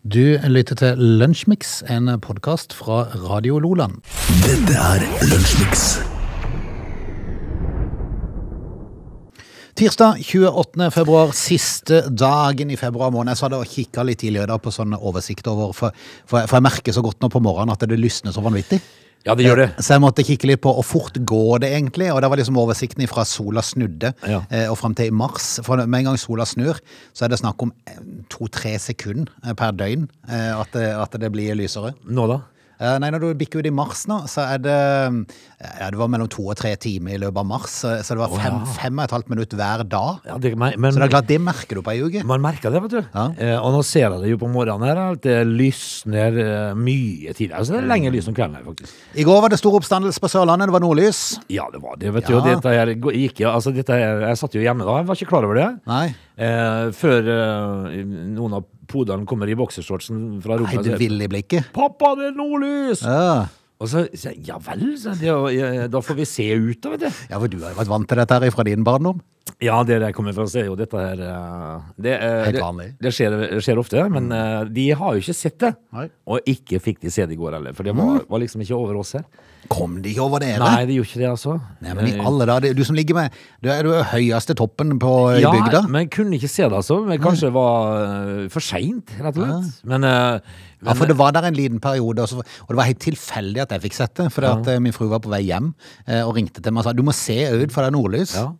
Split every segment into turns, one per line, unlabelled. Du lytter til Lunsjmix, en podkast fra Radio Loland.
Dette er Lunsjmix.
Tirsdag 28. februar, siste dagen i februar måned. Jeg sa det og kikka litt tidligere i dag på sånn oversikt over For, for, jeg- for jeg merker så godt nå på morgenen at det lysner så vanvittig.
Ja, det gjør det.
Eh, Så jeg måtte kikke litt på hvor fort går det egentlig. Og det var liksom oversikten fra sola snudde
Ja.
eh, og fram til i mars. For med en gang sola snur, så er det snakk om eh, to-tre sekunder eh, per døgn eh, at det, at det blir lysere.
Nå da?
Eh, Nei, når du bikker ut i mars nå, så er det eh, ja, Det var mellom to og tre timer i løpet av mars, så så det var fem, fem og et halvt minutt hver dag.
Ja, det, men, men,
Så det er klart, det merker du på ei uke.
man merker det, vet du.
Ja.
Eh, og nå ser jeg det jo på morgenen her, at det lysner eh, mye tidligere. Så det er lenge lys om kvelden her, faktisk.
I går var det stor oppstandelse på Sørlandet, det var nordlys.
Ja, det var det, vet du.
Ja.
Og dette her gå- gikk jo Altså, dette her Jeg satt jo hjemme da, jeg var ikke klar over det.
Nei,
Eh, før eh, noen av podene kommer i boksershortsen fra
nei
rommet.
du
og sier,
vil i blikket.
Pappa, det er nordlys!
Ja.
Og så sier jeg ja vel, så, det, er jo- da får vi se ut da, vet du.
ja, for du har jo vært vant til dette her fra din barndom.
Ja, det der jeg kommer fra, så er jo dette her eh, det, eh,
Helt
det-
vanlig. Mm.
Det skjer, det skjer ofte, men eh, de har jo ikke sett det.
Nei. Mm.
Og ikke fikk de se det i går heller, for det var, var liksom ikke over oss her.
Kom de ikke over det? eller?
Nei, de gjorde ikke det, altså.
Nei, men i alle dager, det er du som ligger med Du er jo høyeste toppen på i
Eh, ja,
bygda.
men kunne ikke se det, altså. Men
Mm.
kanskje det var eh, for seint, rett og slett. Men, eh,
Ja,
men
for det var der en liten periode, og, så, og det var helt tilfeldig at jeg fikk sett det. For at eh, min fru var på vei hjem eh, og ringte til meg og sa du må se ut, for det er nordlys.
ja.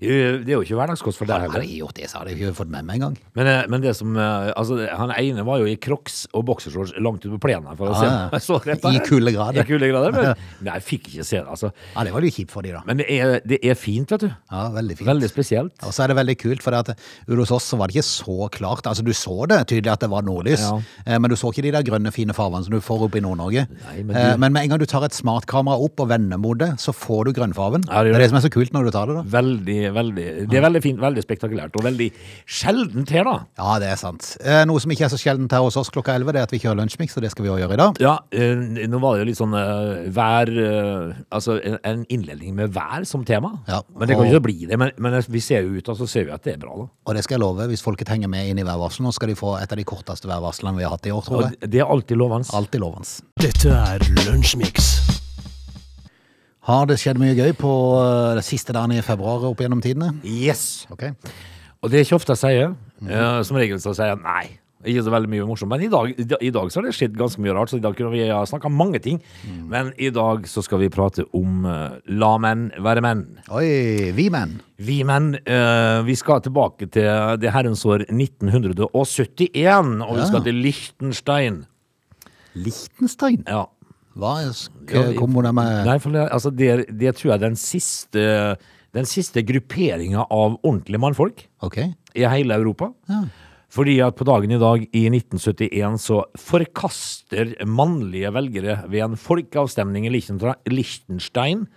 Eh, Det er jo ikke hverdagskost for deg
Hadde
heller.
jeg gjort det, så hadde jeg ikke fått med meg engang.
Men, eh, men det som eh, Altså, det- han ene var jo i crocs og boksershorts langt ute på plenen. For å se.
Ja, ja.
Så rett der.
Ah. I kuldegrader.
I kuldegrader, Men nei, jeg fikk ikke se det, altså.
Ja, det var jo kjipt for de da.
Men det er, det er fint, vet du.
Ja, veldig fint.
Veldig spesielt.
Og så er det veldig kult, for at ute hos oss så var det ikke så klart. Altså, du så det tydelig at det var nordlys,
Ja.
eh, men du så ikke de der grønne, fine farvene som du får oppe i Nord-Norge.
Nei, men du-
Eh, Men med en gang du tar et smartkamera opp og vender mot det, så får du grønnfarven.
Ja,
det,
det gjør
er det
det.
som er så kult når du tar det, da.
Veldig, veldig Det er veldig fint, veldig spektakulært, og veldig sjeldent her, da.
Ja, det er sant. Eh, Noe som ikke er så sjeldent her hos oss klokka 11, det er at vi kjører lunsjmix, og det skal vi også gjøre i dag.
Ja, eh, nå var det jo litt sånn eh, vær eh, Altså en- en innledning med vær som tema.
Ja,
men det kan
og-
jo ikke bli det. Men, men vi ser jo ut, og så ser vi at det er bra, da.
Og det skal jeg love, hvis folket henger med inn i værvarselet, nå skal de få et av de korteste værvarslene vi har hatt i år, tror jeg.
Og det er alltid lovende.
Alltid lovende.
Dette er Lunsjmix.
Har det skjedd mye gøy på eh, de siste dagen i februar opp gjennom tidene?
Yes!
Ok.
Og det er ikke ofte jeg sier. eh, Som regel så sier jeg nei. Ikke så veldig mye morsomt. Men i dag, i dag- i dag så har det skjedd ganske mye rart, så i dag kunne vi ha snakka om mange ting. Men i dag så skal vi prate om eh, la menn være menn.
Oi, vi menn.
Vi menn, eh, vi skal tilbake til det herrens år 1971, og vi
Ja.
skal til Liechtenstein.
Liechtenstein?
Ja.
Hva er sk- kommer det med?
Nei, for det, altså, det, er- det tror jeg er den siste, den siste grupperinga av ordentlige mannfolk
Ok.
i hele Europa.
Ja.
Fordi at på dagen i dag, i 1971, så forkaster mannlige velgere ved en folkeavstemning i Liechtenstein Liechtenstein,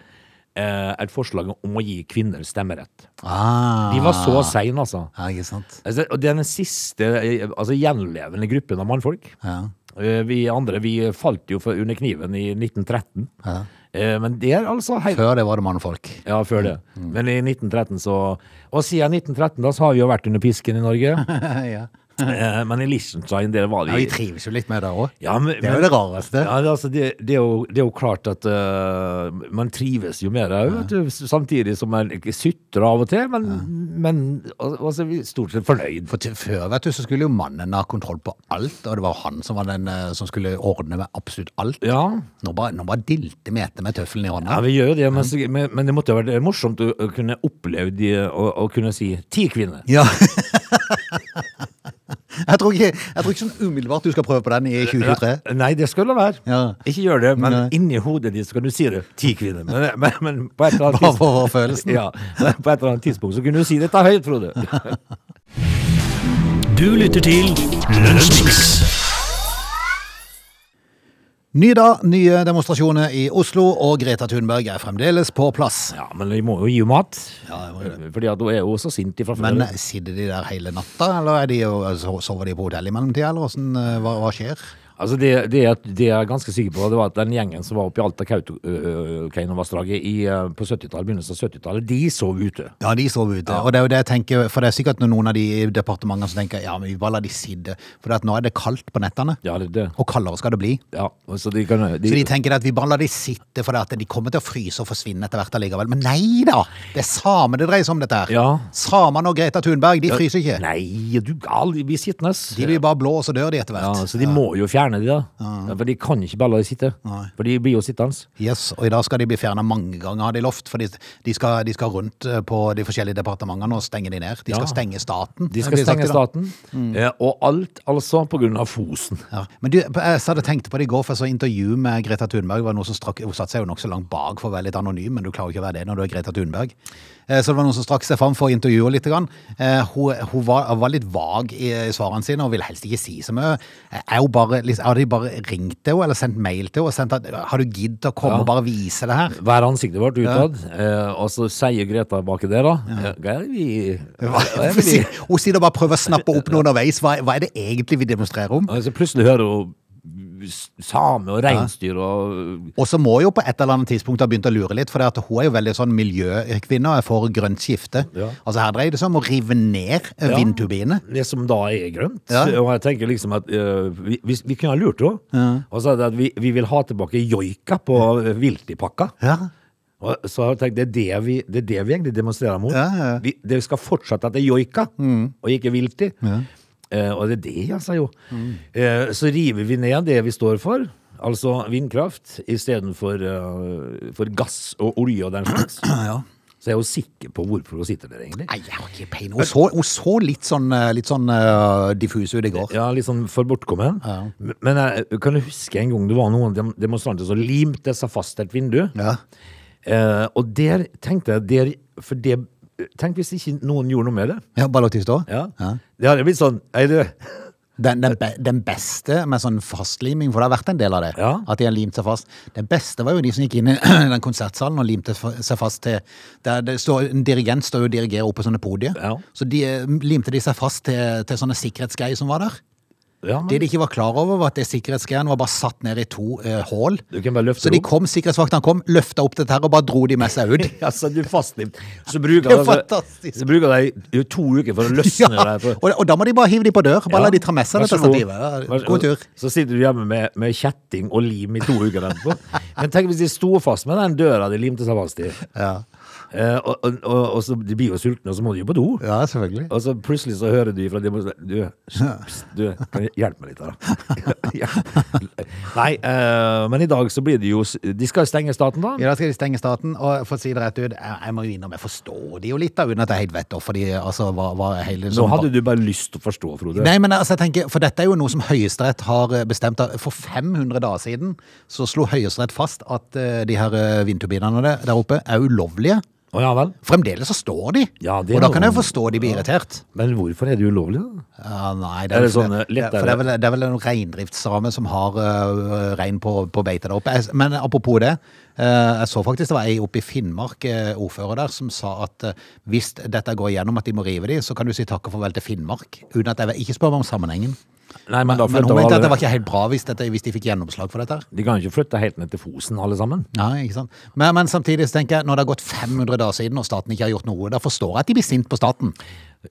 eh, et forslag om å gi kvinner stemmerett.
Ah.
De var så seine, altså.
Ja, ikke sant?
Altså, og det er den siste eh, altså, gjenlevende gruppen av mannfolk.
Ja.
Eh, Vi andre vi falt jo for- under kniven i 1913.
ja.
Eh, Men det er altså helt
Før Mm. det var det mannfolk.
Ja, før det. Men i 1913 så Og siden 1913 da, så har vi jo vært under pisken i Norge.
ja.
Eh, Men i Liechtenstein, der var
ja, vi
de
trives jo litt med det også.
Ja, men-
Det er jo det rareste.
Ja, det, altså, det, det, er jo, det er jo klart at eh, man trives jo med det, vet du. Samtidig som man sutrer av og til, men, men al- altså, vi er stort sett fornøyd.
For til, før vet du, så skulle jo mannen ha kontroll på alt, og det var han som var den eh, som skulle ordne med absolutt alt.
Ja,
Nå bare, nå bare dilte vi etter med tøffelen i hånda.
Ja, vi gjør jo det, men, så- men, men det måtte jo være morsomt å, å kunne oppleve de, å, å kunne si ti kvinner.
Ja. jeg, tror ikke, jeg tror ikke sånn umiddelbart du skal prøve på den i 2023.
Nei, det skulle det være.
Ja.
Ikke gjør det, men
Nei.
inni hodet ditt så kan du si det. Ti kvinner. Men, men, men på et eller annet
Bare
tidspunkt-
for å få følelsen.
Ja, men på et eller annet tidspunkt så kunne du si dette høyt, Frode.
Du lytter til Lunsjmix.
Ny dag, nye demonstrasjoner i Oslo, og Greta Thunberg er fremdeles på plass.
Ja, men vi må jo gi henne mat.
Ja, jeg må gjøre
Fordi at hun er jo så sint ifra før.
Men altså, sitter de der hele natta, eller er de, jo- so- sover de på hotell i mellomtida, eller hvordan, eh, hva, hva skjer?
Altså det, det, jeg- det jeg er ganske sikker på, det var at den gjengen som var oppe i Alta Kautokeinovassdraget i, eh, på 70-tallet, begynnelsen av 70-tallet, de sov ute.
Ja, de sov ute. Og det er jo det jeg tenker, for det er sikkert noen av de i departementene som tenker ja, men vi bare lar de sitte. For at nå er det kaldt på nettene,
Ja, det, det.
og kaldere skal det bli.
ja så de kan de,
Så de tenker at vi bare lar de sitte, for at de kommer til å fryse og forsvinne etter hvert allikevel. Men nei da! Det er samene det dreier seg om, dette her.
Ja.
Samene og Greta Thunberg, de fryser ikke.
Nei, er du gal, de blir sittende.
De blir bare blå, og så dør de etter
Ja,
hvert.
så de må jo fjerne de da. Ja, For de kan ikke bare la de sitte.
Nei.
For de blir jo sittende.
Yes, og i dag skal de bli fjerna mange ganger, har de lovt. For de, de, skal, de skal rundt eh, på de forskjellige departementene og stenge de ned. De skal
Ja.
stenge staten.
De skal
blir det sagt i dag.
stenge staten.
Mm.
Eh, og alt altså på grunn av Fosen.
Ja. Men du, jeg hadde tenkt på det i går, for jeg så intervju med Greta Thunberg. Det var noen som strakk, Hun satte seg jo nokså langt bak for å være litt anonym, men du klarer jo ikke å være det når du er Greta Thunberg. Eh, Så det var noen som strakk seg fram for å intervjue henne litt. Grann. Eh, Hun, hun var, var litt vag i i svarene sine og ville helst ikke si så mye. Er hun bare, liksom, hadde de bare ringt til henne eller sendt mail til henne og sendt at har du giddet å komme og bare vise det her?
Hver ansiktet vårt utad. Eh, og så sier Greta baki der, da. Ja. hva er det vi, hva er det vi?
Hun sitter og bare prøver å snappe opp noe underveis. Hva, hva er det egentlig vi demonstrerer om?
Og så plutselig hører hun same og reinsdyr og eh,
Og så må jo på et eller annet tidspunkt ha begynt å lure litt, for det at hun er jo veldig sånn miljøkvinne og er for grønt skifte.
Ja.
Altså her dreier det seg om å rive ned eh,
Ja.
vindturbiner.
det som da er grønt.
Ja.
Og jeg tenker liksom at eh, vi, vi, vi kunne ha lurt henne. Og så er det at vi, vi vil ha tilbake joika på eh, viltipakka.
Ja.
Og så har jeg tenkt, det er det vi, det er det vi egentlig demonstrerer mot.
Ja, ja, Mm. ja.
Vi, det skal fortsette at det er joika, og ikke vilti. Eh, og det er det, altså jo.
Mm.
Eh, så river vi ned det vi står for, altså vindkraft, i stedet for, eh, for gass og olje og den slags. Så jeg er jo sikker på hvorfor hun sitter der egentlig.
Nei, jeg har ikke peiling. Hun så, hun så litt sånn, eh, litt sånn eh, diffus ut i går.
Ja, litt sånn for bortkommen. Men- Men jeg kan du huske en gang det var noen dem- demonstranter som limte seg fast til et vindu.
Ja.
Eh, og der tenkte jeg der, For det Tenk hvis ikke noen gjorde noe med det.
Ja, bare lagt de stå.
Ja. Det hadde blitt sånn Hei, du.
Den, den, be, den beste med sånn fastliming, for det har vært en del av det,
Ja.
at de har limt seg fast. Den beste var jo de som gikk inn i den konsertsalen og limte fa- seg fast til der det står, En dirigent står jo og dirigerer oppe på sånne podier.
Ja.
Så de, eh, limte de seg fast til, til sånne sikkerhetsgreier som var der.
Ja, men,
Det de ikke var klar over, var at det sikkerhetsgreiene var bare satt ned i to eh, hål.
du kan bare løfte
Så de
opp.
kom, sikkerhetsvaktene kom, løfta opp dette her og bare dro de med seg ut.
Altså, du fastlimt. Så bruker
Det er
de altså,
fantastisk.
så bruker de jo to uker for å løsne
Ja,
det. For,
og, og da må de bare hive de på dør. Bare la de ta med seg
Vær så
dette
god.
stativet.
Vær så-
Ja, God tur.
Så sitter du hjemme med, med kjetting og lim i to uker etterpå. Men tenk hvis de sto fast med den døra de limte seg fast i.
Ja.
Eh, og, og, og, og så De blir jo sultne, og så må de jo på do.
ja, selvfølgelig.
Og så plutselig så hører du fra de Du, pst, du kan du hjelpe meg litt her, da? Ja. Nei, eh, men i dag så blir det jo s- De skal stenge staten, da?
I dag skal de stenge staten, og for å si det rett ut, jeg, jeg må jo innrømme, jeg forstår de jo litt da, uten at jeg helt vet hvorfor de altså, var, var hele
Nå
sånn-
hadde du bare lyst til å forstå, Frode.
Nei, men altså, jeg tenker, for dette er jo noe som Høyesterett har eh, bestemt. da. For 500 dager siden så slo Høyesterett fast at eh, de her eh, vindturbinene der der oppe er ulovlige.
Å ja vel?
Fremdeles så står de.
Ja, det er
og da
noe-
kan jeg forstå de blir irritert.
Men hvorfor er det ulovlig,
Ja,
da?
Ah, nei,
Er
vel
det
ikke
sånne
det,
lettere-
for det er vel, det er vel en reindriftssame som har øh, rein på, på beite der oppe. Jeg, men apropos det, øh, jeg så faktisk det var ei oppe i Finnmark, øh, ordfører der, som sa at øh, hvis dette går igjennom at de må rive de, så kan du si takk og farvel til Finnmark. Uten at jeg vet- ikke spør meg om sammenhengen.
Nei, men da
Men hun
flytter
mente at
alle
det var ikke helt bra hvis, dette, hvis de fikk gjennomslag for dette. her.
De kan jo ikke flytte helt ned til Fosen, alle sammen.
Nei, ikke sant? Men, men samtidig så tenker jeg, når det har gått 500 dager siden og staten ikke har gjort noe, da forstår jeg at de blir sint på staten,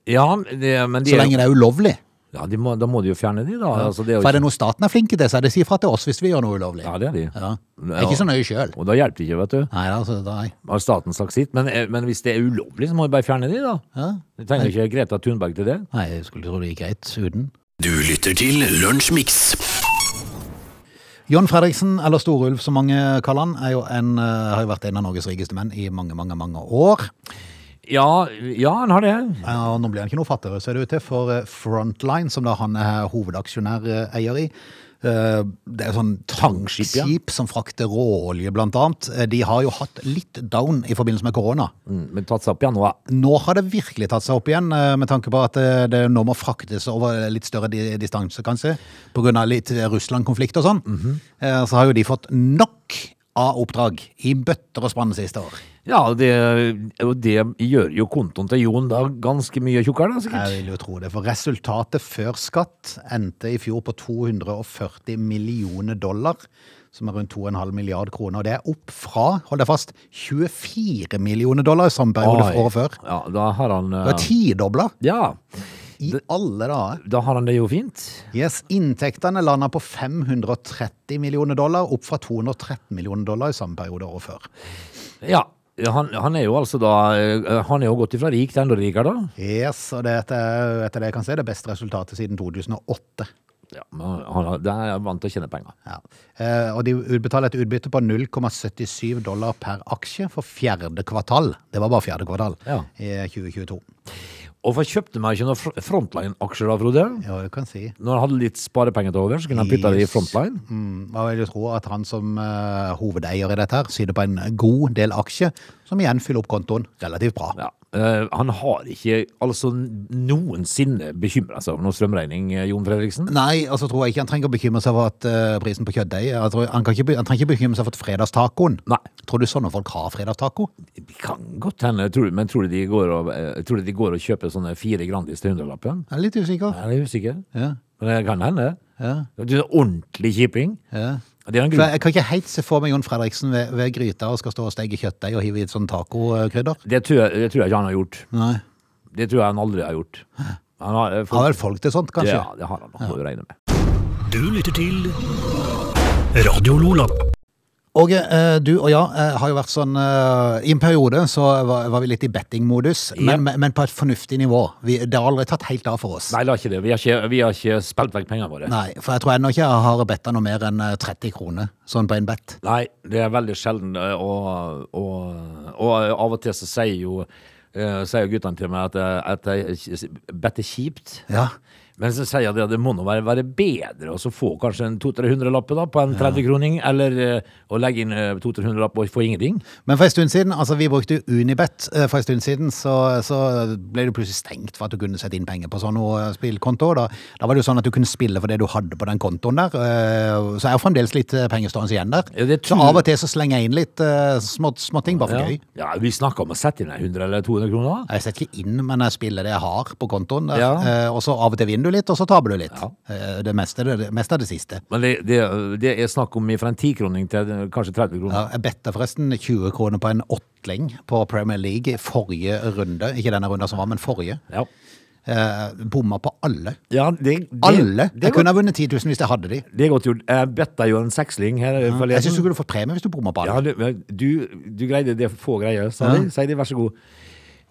Ja, det, men de
så
er
lenge
jo,
det er ulovlig.
ja, de må, Da må de jo fjerne de, da. Altså, det er jo
For er det noe staten er flinke til, så er det å si fra til oss hvis vi gjør noe ulovlig.
Ja, det er de.
Ja. Jeg er ikke så nøye sjøl.
Og da hjelper det ikke, vet du.
Nei, altså, nei.
Har staten sagt sitt? Men, eh, men hvis det er ulovlig, så må de bare fjerne de, da.
Ja.
Du trenger ikke Greta Thunberg til det.
nei, jeg skulle tro det gikk greit uten.
Du lytter til Lunsjmix.
John Fredriksen, eller Storulv som mange kaller han, er jo en, eh, har jo vært en av Norges rikeste menn i mange, mange mange år.
Ja, ja, han har det.
Ja, og nå blir han ikke noe fattigere, ser det ut til, for eh, Frontline, som da han er hovedaksjonæreier i, eh, det er sånn tankskip
ja.
som frakter råolje, blant annet. Eh, De har jo hatt litt down i forbindelse med korona.
Mm, Men tatt seg opp igjen nå. ja.
Nå har det virkelig tatt seg opp igjen, eh, med tanke på at eh, det nå må fraktes over litt større di- distanse, kanskje, pga. litt eh, Russland-konflikt og
Mhm.
sånn. Eh, Så har jo de fått nok av oppdrag i bøtter og spann siste år.
Ja, det, og det gjør jo kontoen til Jon da ganske mye tjukkere, da,
Jeg
sikkert.
vil jo tro det, for resultatet før skatt endte i fjor på 240 millioner dollar, som er rundt 2,5 milliard kroner, og det er opp fra, hold deg fast, 24 millioner dollar i samme periode
Oi.
for året før.
Ja, da har han
Det var
eh,
tidobla
Ja,
i alle dager.
da har han det jo fint.
Yes, inntektene landa på 530 millioner dollar, opp fra 213 millioner dollar i samme periode året før.
Ja. Han, han er jo altså da eh, Han er jo gått ifra rik til enda rikere, da.
Yes, og det er eh, etter det jeg kan se det beste resultatet siden 2008.
Ja, men han, han- det er jeg vant til å tjene penger.
Ja. Eh, Og de utbetaler et utbytte på 0,77 dollar per aksje for fjerde kvartal. Det var bare fjerde kvartal
Ja.
i 2022.
Hvorfor kjøpte man ikke noen fr- Frontline-aksjer da, Frode?
Ja, du kan si.
Når han hadde litt sparepenger til over, så kunne han putte det i
Yes.
Frontline.
Mm, og jeg vil jo tro at han som eh, hovedeier i dette her, sitter på en god del aksjer, som igjen fyller opp kontoen relativt bra.
Ja. eh, han har ikke altså noensinne bekymra seg over noen strømregning, eh, Jon Fredriksen.
Nei, og så tror jeg ikke han trenger å bekymre seg for at eh, prisen på kjøttdeig jeg tror- han, kan ikke, be- han trenger ikke bekymre seg for at fredagstacoen.
Nei.
Tror du sånne folk har fredagstaco?
Det kan godt hende, tror du, men tror du de går og, eh, tror du de går og kjøper sånne fire Grandis til hundrelappen?
Jeg er litt usikker.
Jeg er usikker.
Ja.
Men det kan hende.
Ja.
Du er ordentlig kjiping.
Ja.
Det er en
For
grunn.
jeg kan ikke helt se for meg Jon Fredriksen ved, ved gryta og skal stå og steke kjøttdeig og hive i et sånn tacokrydder.
Det tror, jeg, det tror jeg ikke han har gjort.
Nei.
Det tror jeg han aldri har gjort. Han har, eh,
Har
fått-
vel folk til sånt, kanskje?
Ja, det har han nok, må du regne med.
Du lytter til Radio Lola.
Åge, eh, du og jeg eh, har jo vært sånn eh, I en periode så var, var vi litt i bettingmodus,
Ja.
men, men- men på et fornuftig nivå. Vi, det har aldri tatt helt av for oss.
Nei, la ikke det. Vi har ikke, vi har ikke spilt vekk pengene våre. Nei.
Nei, for jeg tror ennå ikke jeg har betta noe mer enn eh, 30 kroner sånn på en bet.
det er veldig sjelden. eh, Og, og, og av og til så sier jo, eh, sier guttene til meg at, jeg- at jeg better kjipt.
Ja.
Men så sier jeg det at det må nå være, være bedre å så få kanskje en 200-300 lappe da, på en 30-kroning, eller eh, å legge inn 200-300 lapp og få ingenting.
Men for en stund siden, altså vi brukte jo Unibet eh, for en stund siden, så, så ble det plutselig stengt for at du kunne sette inn penger på sånne eh, spillkonto. Da, da var det jo sånn at du kunne spille for det du hadde på den kontoen der. eh, Så er jo fremdeles litt eh, penger stående igjen der.
Ja, det
Så
tror-
av og til så slenger jeg inn litt eh, små- småting, bare for
Ja.
gøy.
ja, vi snakker om å sette inn en 100 eller 200 kroner.
Jeg setter ikke inn, men jeg spiller det jeg har på kontoen. Der.
Ja.
Eh, Og så av og til vinner du litt, og så taper du litt.
Ja.
Eh, Det meste, det, meste er det siste.
Men det, det, det er snakk om fra en 10-kroning til eh, kanskje 30 kroner.
Ja, Jeg betta forresten 20 kroner på en åttling på Premier League i forrige runde. Ikke denne runden som var, men forrige.
Ja.
Eh, bomma på alle.
Ja, det, det,
Alle!
Det, er
Jeg kunne
godt-
ha vunnet 10 000 hvis jeg hadde de.
det er godt gjort. Jeg betta jo en seksling her forleden.
Jeg syns du kunne fått premie hvis du bomma på
ja,
alle.
du, du, du greide det få greier, sa de. Sier de, vær så god.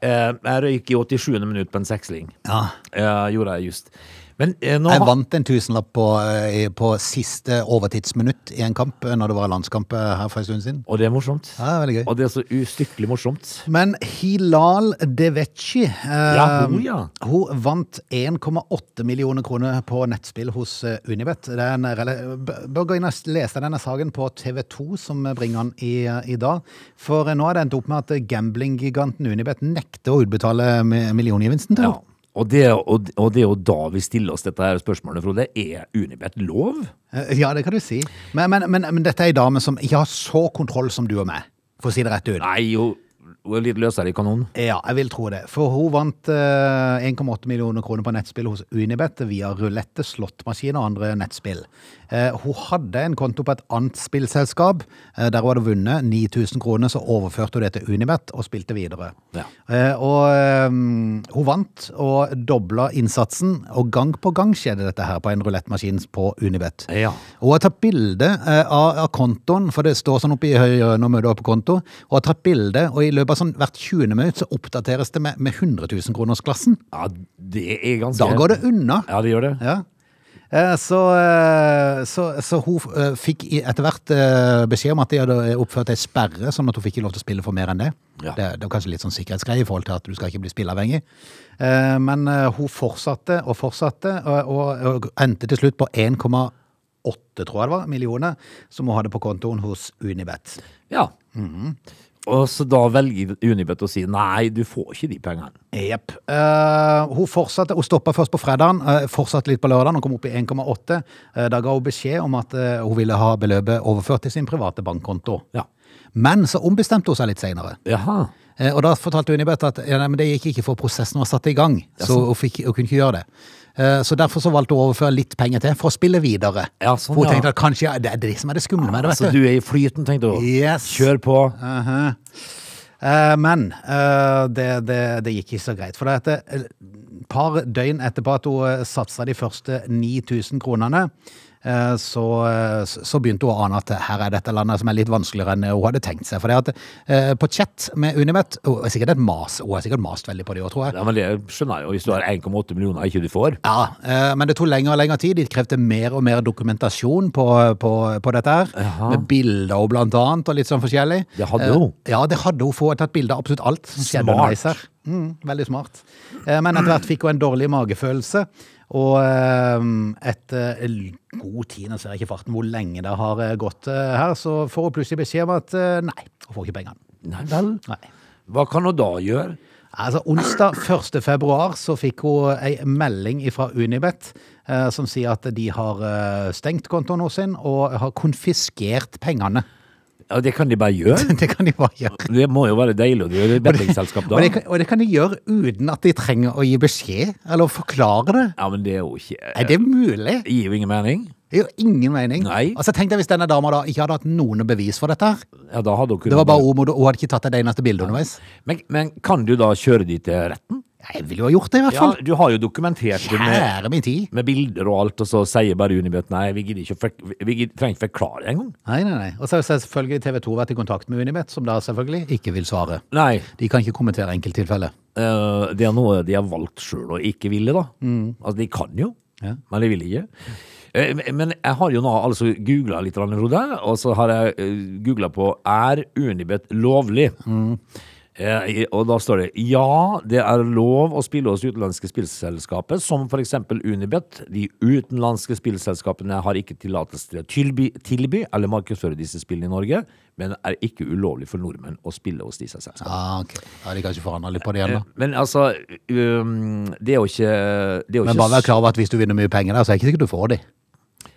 Eh, jeg røyk i 87. minutt på en seksling.
Ja.
Eh, gjorde jeg just. Men eh, nå
Jeg
har-
vant en tusenlapp på, eh, på siste overtidsminutt i en kamp, eh, når det var landskamp eh, her for en stund siden.
Og det er morsomt.
Ja, det er veldig gøy.
Og det er så ustykkelig morsomt.
Men Hilal Deveci eh,
Ja, hun, ja.
hun vant 1,8 millioner kroner på nettspill hos eh, Unibet. Det er en, rela- b- bør gå inn og lese denne saken på TV 2, som bringer den i, i dag. For eh, nå har det endt opp med at eh, gamblinggiganten Unibet nekter å utbetale mi- milliongevinsten til
Ja.
henne.
Og det, og, og det er jo da vi stiller oss dette her spørsmålet, Frode. Er Unibet lov?
Eh, Ja, det kan du si. Men, men, men, men dette er ei dame som ikke har så kontroll som du og meg, for å si det rett ut.
Nei, hun hun er litt løsere i kanonen.
Ja, jeg vil tro det. For hun vant eh, 1,8 millioner kroner på nettspill hos Unibet via rulette, slåttmaskin og andre nettspill. Eh, hun hadde en konto på et annet spillselskap. eh, der hun hadde vunnet 9000 kroner, så overførte hun det til Unibet og spilte videre.
Ja.
Eh, og eh, hun vant og dobla innsatsen, og gang på gang skjedde dette her på en rulettmaskin på Unibet.
Ja.
Hun har tatt bilde eh, av, av kontoen, for det står sånn oppe i høyre når møter opp på konto. Hun har tatt bilde, og i løpet av sånn hvert 20. minutt så oppdateres det med, med 100 000 kronersklassen.
Ja, det er ganske
Da går det unna.
Ja, det gjør det.
Ja. Eh, Så, eh, så, så hun eh, fikk i- etter hvert eh, beskjed om at de hadde oppført ei sperre, sånn at hun fikk ikke lov til å spille for mer enn det.
Ja.
Det, det var kanskje litt sånn sikkerhetsgreie i forhold til at du skal ikke bli spilleavhengig. Eh, Men eh, hun fortsatte og fortsatte, og- og, og endte til slutt på 1,8 tror jeg det var, millioner, som hun hadde på kontoen hos Unibet.
Ja. Og så da velger Unibet å si nei, du får ikke de pengene.
Jepp. Eh, hun fortsatte, hun stoppa først på fredagen, eh, fortsatte litt på lørdagen og kom opp i 1,8. Eh, da ga hun beskjed om at eh, hun ville ha beløpet overført til sin private bankkonto.
Ja.
Men så ombestemte hun seg litt senere.
Jaha.
Eh, Og da fortalte Unibet at ja, nei, men det gikk ikke for prosessen var satt i gang. Så hun, fikk, hun kunne ikke gjøre det. Eh, Så derfor så valgte hun å overføre litt penger til for å spille videre.
Ja, sånn,
for hun
ja.
tenkte at kanskje ja, det er det som er det skumle med det.
Så
vet du.
Altså, du er i flyten, tenkte du.
Yes.
Kjør på.
Aha. Eh, Men eh, det, det, det gikk ikke så greit. For det at et par døgn etterpå at hun satsa de første 9000 kronene, eh, så, eh, så begynte hun å ane at eh, her er dette landet som er litt vanskeligere enn hun hadde tenkt seg. For det at eh, på chat med Unibet Hun er sikkert et mas, hun har sikkert mast veldig på det òg, tror jeg.
Ja, men det skjønner jeg jo. Hvis du har 1,8 millioner ikke du får.
Ja, eh, men det tok lengre og lengre tid. De krevde mer og mer dokumentasjon på, på, på dette her. Med bilder og blant annet, og litt sånn forskjellig.
Det hadde hun.
Eh, Ja, det hadde hun. For hun hadde tatt bilder av absolutt alt som skjedde
Smart.
underveis her. Mm, veldig smart. Eh, Men etter hvert fikk hun en dårlig magefølelse. Og eh, etter l- god tid, nå ser jeg ikke farten hvor lenge det har eh, gått eh, her, så får hun plutselig beskjed om at eh, nei, hun får ikke pengene.
Nei vel.
Nei.
Hva kan hun da gjøre?
Altså, onsdag 1. februar så fikk hun ei melding fra Unibet eh, som sier at de har eh, stengt kontoen hos sin og har konfiskert pengene.
Ja, det kan de bare gjøre.
Det kan de bare gjøre.
Det må jo være deilig å gjøre i bettingselskap da.
Og det, kan, og det kan de gjøre uten at de trenger å gi beskjed eller å forklare det.
Ja, men det er jo ikke
Er det mulig?
Det gir jo ingen mening.
Det gir jo ingen mening.
Nei.
Altså, Tenk deg hvis denne dama da ikke hadde hatt noen bevis for dette. her.
Ja, da hadde hun kunnet
Det var bare ord mot ord, hun hadde ikke tatt et eneste bilde underveis.
men, men kan du da kjøre de til retten?
Jeg ville jo ha gjort det, i hvert
Ja,
fall.
du har jo dokumentert det med,
Kjære min tid.
med bilder og alt, og så sier bare Unibet nei, vi, gidder ikke, å fork- vi gidder, trenger ikke forklare det engang.
Nei, nei, nei. Og så har selvfølgelig TV 2 vært i kontakt med Unibet, som da selvfølgelig ikke vil svare.
Nei,
De kan ikke kommentere enkelttilfeller.
eh, det er noe de har valgt sjøl og ikke ville, da. Altså, de kan jo,
Ja.
men de vil ikke. Eh, Men jeg har jo nå altså googla litt, grann, Frode, og så har jeg googla på 'Er Unibet lovlig?' Eh, i- Og da står det 'Ja, det er lov å spille hos utenlandske spillselskaper, som f.eks. Unibet'. 'De utenlandske spillselskapene har ikke tillatelse til å tilby, tilby eller markedsføre disse spillene i Norge', 'men er ikke ulovlig for nordmenn å spille hos disse selskapene'.
Ah, ok. Da har de kanskje forandra litt på det igjen, da.
Men altså, um, det er jo ikke det er jo
Men
ikke
bare vær klar over at hvis du vinner mye penger der, så er det ikke sikkert du får de.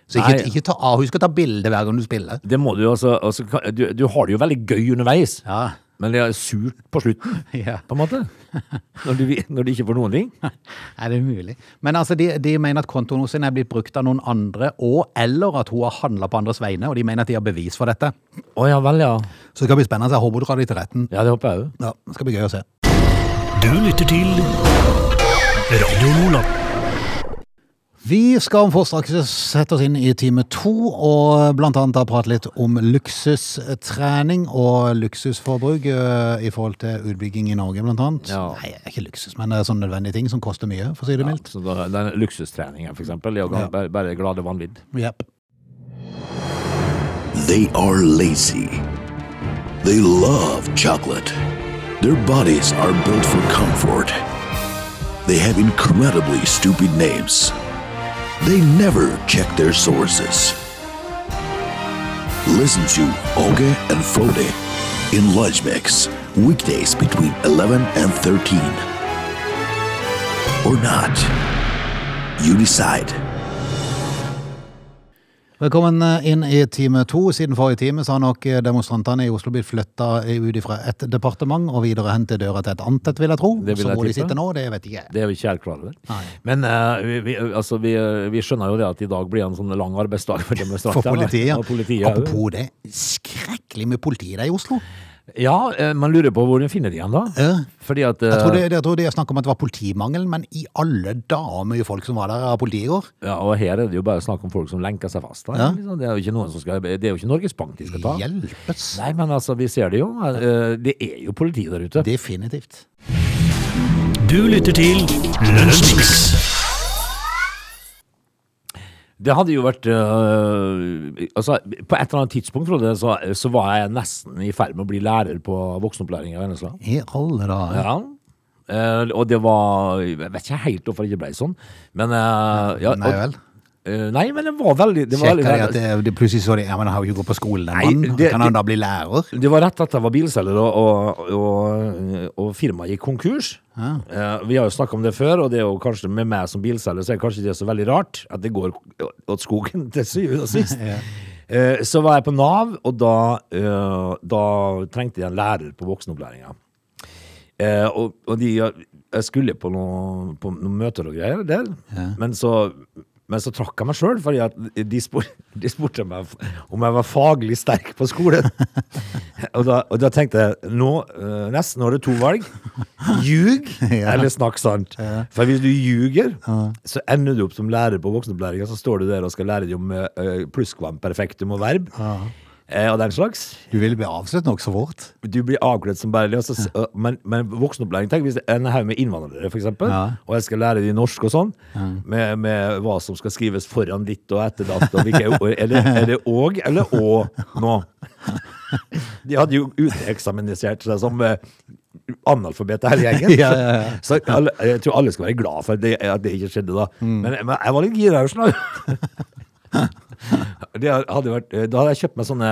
Så ikke,
Nei.
ikke ta, ah, husk å ta bilde hver gang du spiller.
Det må du jo altså, altså kan- du, du har det jo veldig gøy underveis,
Ja.
men det er surt på slutten,
Ja.
på en måte. Når du, når du ikke får noen ting.
Er det mulig? Men altså, de, de mener at kontoen hos henne er blitt brukt av noen andre, og eller at hun har handla på andres vegne, og de mener at de har bevis for dette.
Å ja vel, ja.
Så det skal bli spennende. Jeg håper du drar de til retten.
Ja, det håper jeg òg.
Ja, det skal bli gøy å se.
Du lytter til Radio Lola.
Vi skal om få straks sette oss inn i time to, og blant annet da prate litt om luksustrening og luksusforbruk eh, i forhold til utbygging i Norge, blant annet.
Ja.
Nei, det er ikke luksus, men det er sånne nødvendige ting som koster mye, for å si det mildt.
Så da, den luksustreningen, for eksempel, er jo
Ja.
bare, bare glade vanvidd.
Jep.
They are lazy. They love chocolate. Their bodies are built for comfort. They have incredibly stupid names. They never check their sources. Listen to Oge and Frode in Lunch Mix, weekdays between 11 and 13. Or not. You decide.
Velkommen eh, inn i time to. Siden forrige time så har nok eh, demonstrantene i Oslo blitt flytta ut fra et departement og videre hen til døra til et annet, vil jeg tro.
Det vil
så
jeg
hvor de
tippe.
sitter nå, det vet ikke jeg.
Det er vi ikke helt klar over.
Nei.
Men eh, vi, vi, altså, vi, vi skjønner jo det at i dag blir en sånn lang arbeidsdag for demonstranter.
For politiet.
Og politiet også.
Apropos det, skrekkelig mye politi det er i Oslo.
Ja, eh, man lurer på hvor de finner de igjen da.
Ja.
Fordi at
Jeg tror,
eh,
det, jeg tror det er snakk om at det var politimangel, men i alle dager mye folk som var der av politiet i går.
Ja, og her er det jo bare snakk om folk som lenker seg fast. Da.
Ja.
Liksom. Det er jo ikke noen som skal Det er jo ikke Norges Bank de skal ta.
Hjelpes!
Nei, men altså, vi ser det jo. Eh, Det er jo politi der ute.
Definitivt.
Du lytter til Lunsjmix.
Det hadde jo vært eh, Altså, på et eller annet tidspunkt, Frode, så, så var jeg nesten i ferd med å bli lærer på voksenopplæring i Vennesla.
I alle dager.
Ja. Eh, og det var Jeg vet ikke helt hvorfor det ikke ble sånn, men eh, ja,
Nei
og-
vel.
Eh, nei, men det var veldig det var
Sjekker de
veldig-
at det, det plutselig så de Ja, men han har jo ikke gått på skolen, den
Nei,
mannen.
det-
Kan han da bli lærer?
Det var rett at jeg var bilselger, og, og, og, og firmaet gikk konkurs. Eh, Vi har jo snakka om det før, og det er jo kanskje med meg som bilselger så er det kanskje ikke så veldig rart at det går åt skogen til syvende og sist. Eh, Så var jeg på Nav, og da, eh, da trengte jeg en lærer på voksenopplæringa. Eh, og, og de, jeg skulle på noen på noen møter og greier der, men, så, men så trakk jeg meg sjøl, fordi at de, spor, de spurte meg om jeg var faglig sterk på skolen. og, da, og da tenkte jeg nå, eh, nesten har du to valg. Ljug
Ja.
eller snakk sant. For hvis du ljuger, så ender du opp som lærer på voksenopplæringa, så står du der og skal lære dem om eh, plusskvam, perfektum og verb. eh, Og den slags.
Du vil bli avslørt nokså fort.
Du blir avkledd som bare det, og så s- og- men, men voksenopplæring Tenk hvis det er en haug med innvandrere, for eksempel,
Ja.
og jeg skal lære de norsk og sånn, med, med hva som skal skrives foran ditt og etter datt, og hvilke ord Er det, er det og eller å nå? De hadde jo uteksaminisert seg som eh, analfabeter hele gjengen.
Ja, ja, ja.
Så alle, jeg tror alle skal være glad for det, at det ikke skjedde da.
Mm.
Men, men jeg var litt gira. jeg skjønner du. Det hadde vært, da hadde jeg kjøpt meg sånne,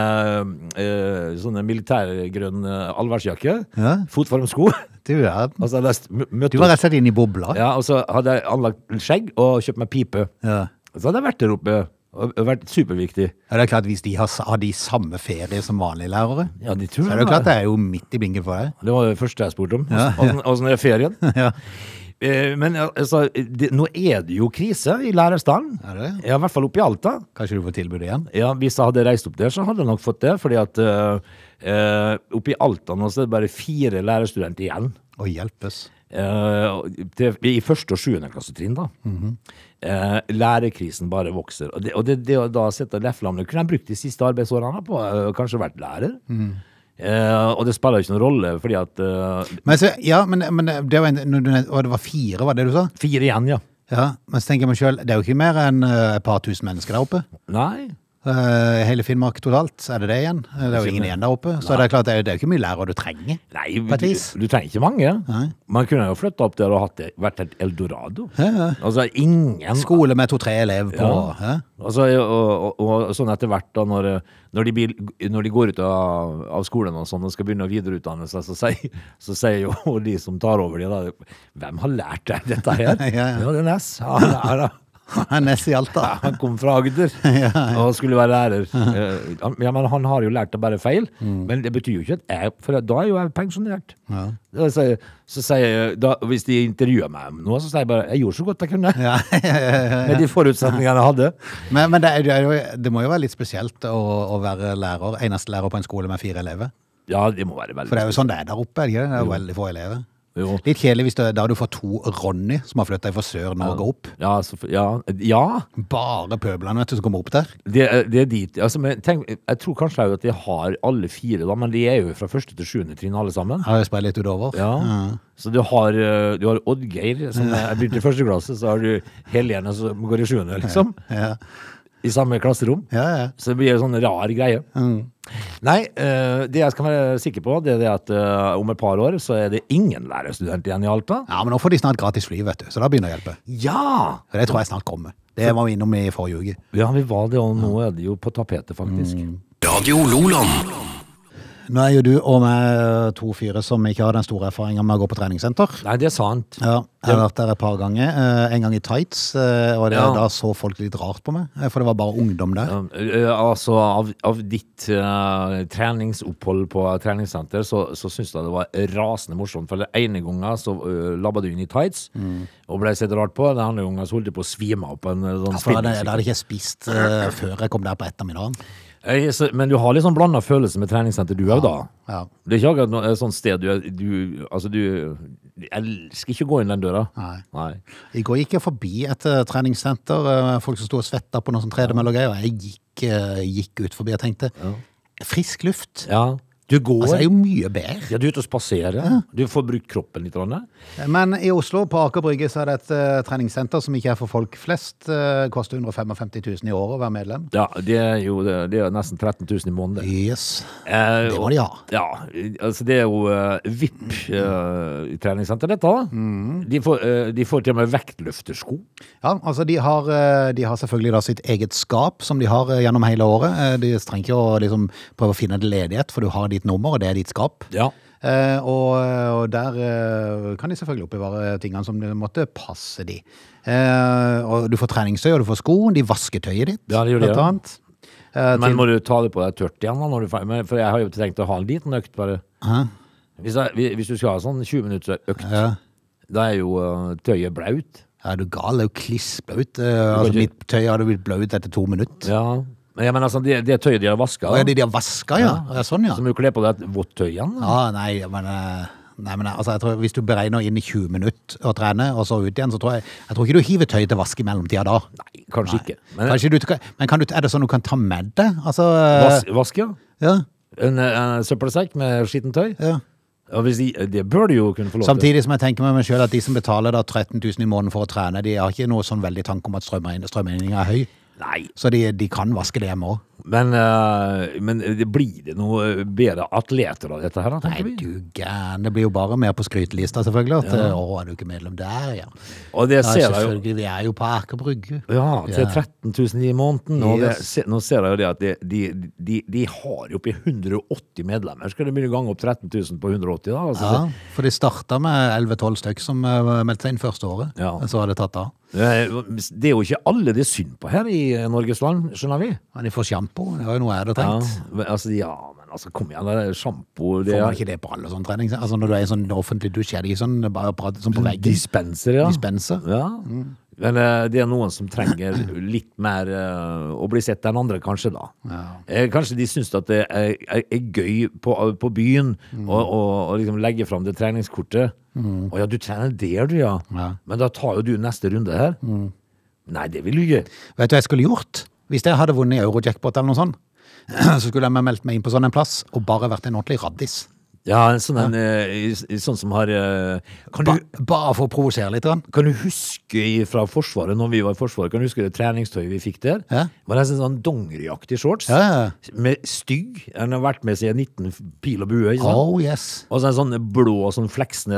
eh, sånne militærgrønn eh, allværsjakke.
Ja.
Fotvarmsko.
Du, ja.
Og så hadde jeg st- mø- møtt
du var
opp.
rett og slett inne i bobla.
Ja, og så hadde jeg anlagt skjegg og kjøpt meg pipe.
Ja.
Så hadde jeg vært der oppe og og vært superviktig.
Ja, det er klart, Hvis de har, har de samme ferie som vanlige lærere,
Ja, de
så
tror
er det jo klart det er jo midt i blinken for deg.
Det var det første jeg spurte om. Åssen åssen er ferien?
Ja.
Eh, Men altså, det, nå er det jo krise i lærerstanden.
Er det?
Ja, I hvert fall oppe i Alta.
Kanskje du får tilbud igjen?
Ja, Hvis jeg hadde reist opp der, så hadde jeg nok fått det. Fordi at eh, eh, oppe i Alta nå så er det bare fire lærerstudenter igjen.
Å hjelpes.
Eh, og det, I første og sjuende klassetrinn, da.
Mhm.
Eh, lærerkrisen bare vokser. Og det, og det, det å da sette leflene Kunne jeg brukt de siste arbeidsårene på eh, kanskje vært lærer?
Mhm.
Eh, og det spiller jo ikke noen rolle, fordi at eh,
Men så, ja, men, men det, var en, når du nevnte- og det var fire, var det du sa?
Fire igjen, ja.
Ja, Men så tenker jeg meg sjøl, det er jo ikke mer enn eh, et par tusen mennesker der oppe.
Nei.
Eh, Hele Finnmark totalt, er det det igjen? Eh, Det er jo ingen igjen der oppe. Så det er klart, det er, det er jo ikke mye lærere du trenger.
Nei,
På et
du,
vis.
du trenger ikke mange.
Nei.
Man kunne jo flytta opp der og hatt det, vært et eldorado.
Ja, ja.
Altså ingen
Skole med to-tre elever på.
Ja.
hæ?
Altså, og, og, og sånn etter hvert, da, når, når, de, blir, når de går ut av, av skolen og sånn og skal begynne å videreutdanne seg, så sier, så sier jo de som tar over de da Hvem har lært deg dette her?
Ja, ja.
Det var det Ness. Ja, det er det.
Ness i Alta.
Han kom fra Agder og skulle være lærer. Eh, han- Ja, men han har jo lært å bære feil,
Mm.
men det betyr jo ikke at jeg For da er jo jeg pensjonert. Da sier- Så, sier jeg, da, hvis de intervjuer meg om noe, så sier jeg bare Jeg gjorde så godt jeg kunne.
Ja, ja, ja, ja.
Med de forutsetningene jeg hadde.
Men, men det, er, det, er jo, det må jo være litt spesielt å, å være lærer, eneste lærer på en skole med fire elever.
Ja, det må være veldig
For det er jo sånn det er der oppe, er det ikke det? Det er jo veldig få elever.
Jo.
Litt kjedelig hvis det, da du får to Ronny som har flytta fra Sør-Norge opp.
Ja, så, ja, ja
Bare pøblene vet du, som kommer opp der.
det, er- det er dit. Altså, men tenk, jeg tror kanskje at de har alle fire, da, men de er jo fra første til sjuende trinn alle sammen.
Har jeg spredt litt utover.
Ja. Så du har, eh, du har Oddgeir, som er begynt i første klasse, så har du Helene som går i sjuende, liksom.
Ja.
I samme klasserom.
Ja, ja.
Så det blir en sånn rar greie. Nei, eh, det jeg skal være sikker på, det er det at eh, om et par år så er det ingen lærerstudent igjen i Alta.
ja, men nå får de snart gratis fly, vet du. Så da begynner det å hjelpe.
Ja!
Og det tror jeg snart kommer. Det var vi innom i forrige uke.
Ja, vi var det, og nå er det jo på tapetet, faktisk.
Radio Loland.
Nå er jo du og meg eh, to fyre som ikke har den store erfaringa med å gå på treningssenter.
Nei, det er sant.
Ja, jeg har vært der et par ganger. eh, En gang i tights, eh, og det,
Ja.
da så folk litt rart på meg. eh, For det var bare ungdom der.
Um, eh, Altså, av, av ditt eh, treningsopphold på treningssenter, så, så syns jeg det var rasende morsomt. For den ene gangen så eh, labba du inn i tights
Mm.
og ble sett rart på. Den andre gangen så holdt du på å svime av på en eh, sånn
For da hadde,
spinningsykkel.
da hadde ikke jeg spist eh, før jeg kom der på ettermiddagen.
Eh, så- Men du har litt sånn blanda følelse med treningssenter, du òg, da.
Ja.
Det er ikke akkurat noe eh, sånt sted du, er- du Altså, du du elsker ikke å gå inn den døra.
Nei.
Nei.
I går gikk jeg forbi et eh, treningssenter, eh, folk som sto og svetta på noe sånn tredemølle og greier, og jeg gikk, eh, gikk ut forbi og tenkte frisk luft.
Ja. Du går.
Altså, det er jo mye bedre.
ja, du er ute og spaserer. Du får brukt kroppen litt. Ronne.
Men i Oslo, på Aker Brygge, så er det et eh, treningssenter som ikke er for folk flest. eh, koster 155 000 i året å være medlem.
Ja, det er jo det det er jo nesten 13 000 i måneden.
Yes.
Eh,
Det må de ha.
Ja, altså det er jo eh, VIP-treningssenter, eh, dette. da.
Mm.
De, får, eh, de får til og med vektløftersko.
Ja, altså de har, eh, de har selvfølgelig da sitt eget skap som de har eh, gjennom hele året. Eh, De trenger ikke å liksom prøve å finne en ledighet, for du har ditt nummer, og det er ditt skap.
Ja.
Eh, og, og der eh, kan de selvfølgelig oppbevare tingene som det måtte passe de. Eh, og du får treningstøy, og du får sko, de vasker tøyet ditt,
Ja, det gjør de,
blant
ja.
annet. eh,
Men
til-
må du ta det på deg tørt igjen, da? Når du, er ferdig med- for jeg har jo tenkt å ha en liten økt, bare. Hvis, jeg, hvis du skal ha sånn 20 minutter økt,
Ja.
da er jo eh, tøyet blaut.
Er du gal? Det er jo klissblaut. Eh, altså,
ikke-
mitt tøy hadde blitt blaut etter to minutter.
Ja. Men jeg mener altså, det, det tøyet de har vaska,
Å, ja, de de har vaska, ja. ja. Sånn, ja.
så må du kle på deg et vått tøy igjen. da.
Ja, nei, men, eh, nei, men altså, jeg tror, Hvis du beregner inn i 20 minutter å trene, og så ut igjen, så tror jeg Jeg tror ikke du hiver tøy til vask i mellomtida da.
Nei, kanskje ikke. Men eh,
Kanskje du, kan- men kan du, er det sånn du kan ta med deg? Altså, eh,
vas, vask, ja.
ja,
En, en søppelsekk med skittent tøy.
ja.
Og hvis de, det bør du jo kunne få lov til.
Samtidig som jeg tenker med meg selv at de som betaler da 13 000 i måneden for å trene, de har ikke noe sånn veldig tanke om at strømregn- strømregningen er høy.
Nei,
Så de, de kan vaske det hjemme òg.
men, eh, men det blir det noe bedre atleter av dette her, da,
Nei,
tenker vi.
du gæren. Det blir jo bare mer på skrytelista, selvfølgelig. At, Å, er du ikke medlem der, ja.
Og
Ja,
det ser jeg jo.
selvfølgelig. Vi er jo på Aker Brygge.
Ja, til
Ja.
13 000 i måneden. Og det,
Yes.
se, nå ser jeg jo det at de, de, de, de har jo oppi 180 medlemmer. Skal det begynne å gange opp 13 000 på 180, da? Altså,
Ja, for de starta med 11-12 stykk som eh, meldte seg inn første året.
Ja.
Men Så har det tatt av.
så- Det er jo ikke alle det er synd på her i Norges land, skjønner vi.
Men de får sjampo. Det var jo noe jeg hadde
Ja,
trengt.
men, altså, ja, men altså, kom igjen, det er sjampo det
Får
er-
man ikke det på alle sånne trening? Altså Når du er i sånn offentlig dusj, er det ikke sånn bare prat sånn på veggen?
Dispenser, ja.
Dispenser. Mm.
Ja. Men eh, det er noen som trenger litt mer eh, å bli sett enn andre, kanskje, da. Eh, kanskje de syns at det er, er, er gøy på, på byen
Mm.
å å- å liksom legge fram det treningskortet. Å ja, du trener der, du, ja.
Ja. Mm.
Men da tar jo du neste runde her. Nei, det vil du ikke.
Vet du hva jeg skulle gjort? Hvis jeg hadde vunnet i Eurojackpot eller noe sånt, så skulle jeg meldt meg inn på sånn en plass og bare vært en ordentlig raddis.
Ja, en sånn, en, eh, i- i- sånn som har eh, Kan
Ba,
du
bare for å provosere litt. Grann.
Kan du huske fra Forsvaret, når vi var i Forsvaret, kan du huske det treningstøyet vi fikk der?
Ja.
Det var nesten sånn dongeriaktig shorts.
Ja, ja.
Med stygg. Den har vært med siden 19 pil og bue. Ikke sant?
Oh yes.
Og så en sånn blå sånn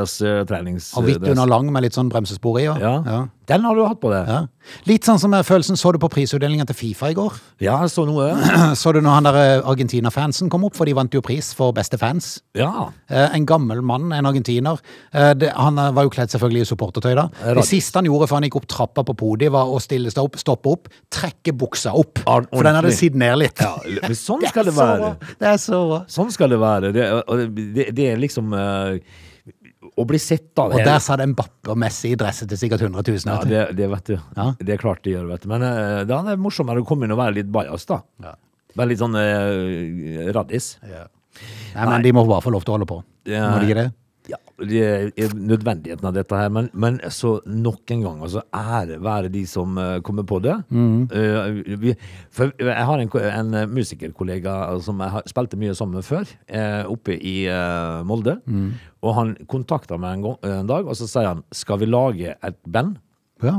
Fleksnes-trenings...
Og hvitt under lang med litt sånn bremsespor i. Ja.
Ja.
Ja.
Den har du hatt på deg. Ja,
Ja. Litt sånn som eh, følelsen så du på prisutdelingen til Fifa i går.
jeg så noe.
Så du når han der eh, Argentina-fansen kom opp, for de vant jo pris for beste fans.
Ja.
Eh, En gammel mann, en argentiner. Eh, det- Han eh, var jo kledd selvfølgelig i supportertøy da. Det
Rart.
siste han gjorde før han gikk opp trappa på podiet, var å stille seg opp, stoppe opp, trekke buksa opp.
Ja,
For den hadde
ordentlig.
sidd ned litt.
Men sånn
Det er
skal det
så
være.
bra. Det er så bra.
Sånn skal det være. Det, og det, det er liksom eh, Å bli sett, da.
Og der satt en Mbappe og Messi i dresset til sikkert 100 000.
Ja,
vet du.
det, det vet du.
Ja.
Det er klart det gjør, vet du. Men eh, da er det morsommere å komme inn og være litt bajas, da. Være litt sånn eh, raddis.
Nei, men de må bare få lov til å holde på.
Ja.
Må de ikke det?
Ja, det er nødvendigheten av dette her, men, men så nok en gang, altså ære være de som eh, kommer på det. Eh, vi, for jeg har en, ko- en eh, musikerkollega eh, som jeg har, spilte mye sammen med før, eh, oppe i eh, Molde, og han kontakta meg en, gang, en dag, og så sier han, skal vi lage et band?
Ja.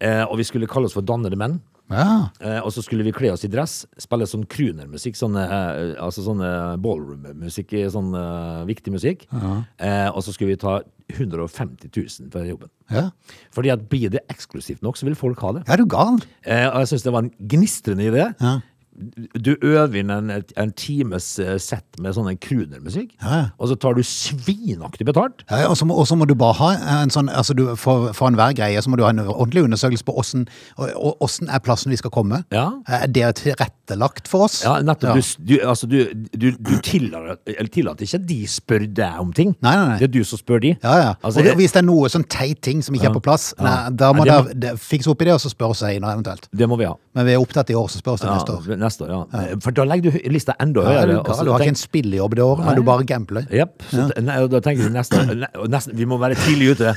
Eh, og vi skulle kalle oss for Dannede menn.
Ja.
Eh, og så skulle vi kle oss i dress, spille sånn croonermusikk, sånn, eh, altså sånn eh, ballroom-musikk, sånn eh, viktig musikk. Eh, og så skulle vi ta 150 000 for jobben.
Ja.
Fordi at blir det eksklusivt nok, så vil folk ha det.
Er du gal?
Eh, og jeg syns det var en gnistrende idé.
Ja.
Du øver inn en, en times eh, sett med sånn croonermusikk,
Ja.
og så tar du svinaktig betalt.
Ja, og så må, og så må du bare ha en sånn altså du, For, for enhver greie så må du ha en ordentlig undersøkelse på åssen er plassen vi skal komme. Eh,
Ja.
Er det tilrettelagt for oss?
Ja, nettopp.
Ja.
Du, du, altså, du, du, du tillater, eller tillater ikke at de spør deg om ting.
Nei, nei, nei.
Det er du som spør de.
Ja, ja.
Altså,
og
jeg-
hvis det er noe sånn teit ting som ikke er på plass, nei, da må
Nei,
det,
det
det fikse opp i det, og så spørre seg inn eventuelt.
Det må vi ha.
Men vi er opptatt i år, så spørres det
Ja,
neste år.
neste år, ja. For da legger du lista enda
Ja, du,
høyere.
er gal, du har ikke en spillejobb det året, men du bare gambler.
Jepp. så te- nei, og Da tenker du neste, ne- og nesten, Vi må være tidlig ute.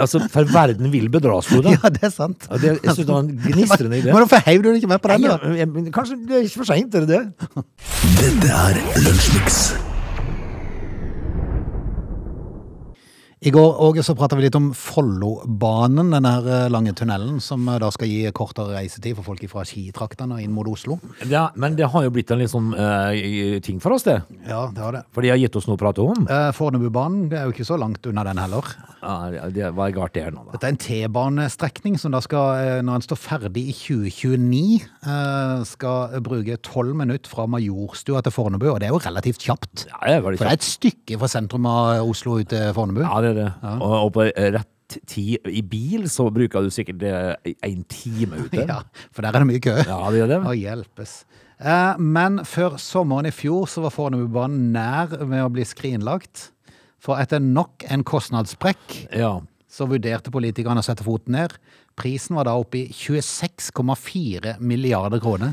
Altså, for verden vil bedras, Frode.
Ja, det er sant.
Ja, det- jeg synes det var en gnistrende idé.
Men hvorfor heiv du deg ikke med på den?
Nei,
da?
ja, men Kanskje det er ikke for seint, er det det?
Dette er Lunsjmix.
I går Åge, så prata vi litt om Follobanen, den her eh, lange tunnelen som eh, da skal gi kortere reisetid for folk fra skitraktene og inn mot Oslo.
Ja, men det har jo blitt en litt sånn eh, ting for oss, det.
Ja, det har det.
For de har gitt oss noe å prate om.
Eh, Fornebubanen det er jo ikke så langt unna den heller.
Ja, det var galt, det her nå, da.
Dette er en T-banestrekning som da skal, eh, når den står ferdig i 2029, eh, skal bruke tolv minutter fra Majorstua til Fornebu, og det er jo relativt kjapt.
Ja, det var litt
For det er et stykke fra sentrum av Oslo ut til Fornebu.
Ja, det er det. Og, og på rett ett tid i bil, så bruker du sikkert eh, en time ute.
Ja, for der er det mye kø.
Ja, det gjør det.
Å hjelpes. Eh, Men før sommeren i fjor så var Fornebubanen nær med å bli skrinlagt. For etter nok en kostnadssprekk
Ja.
så vurderte politikerne å sette foten ned. Prisen var da oppe i 26,4 milliarder kroner.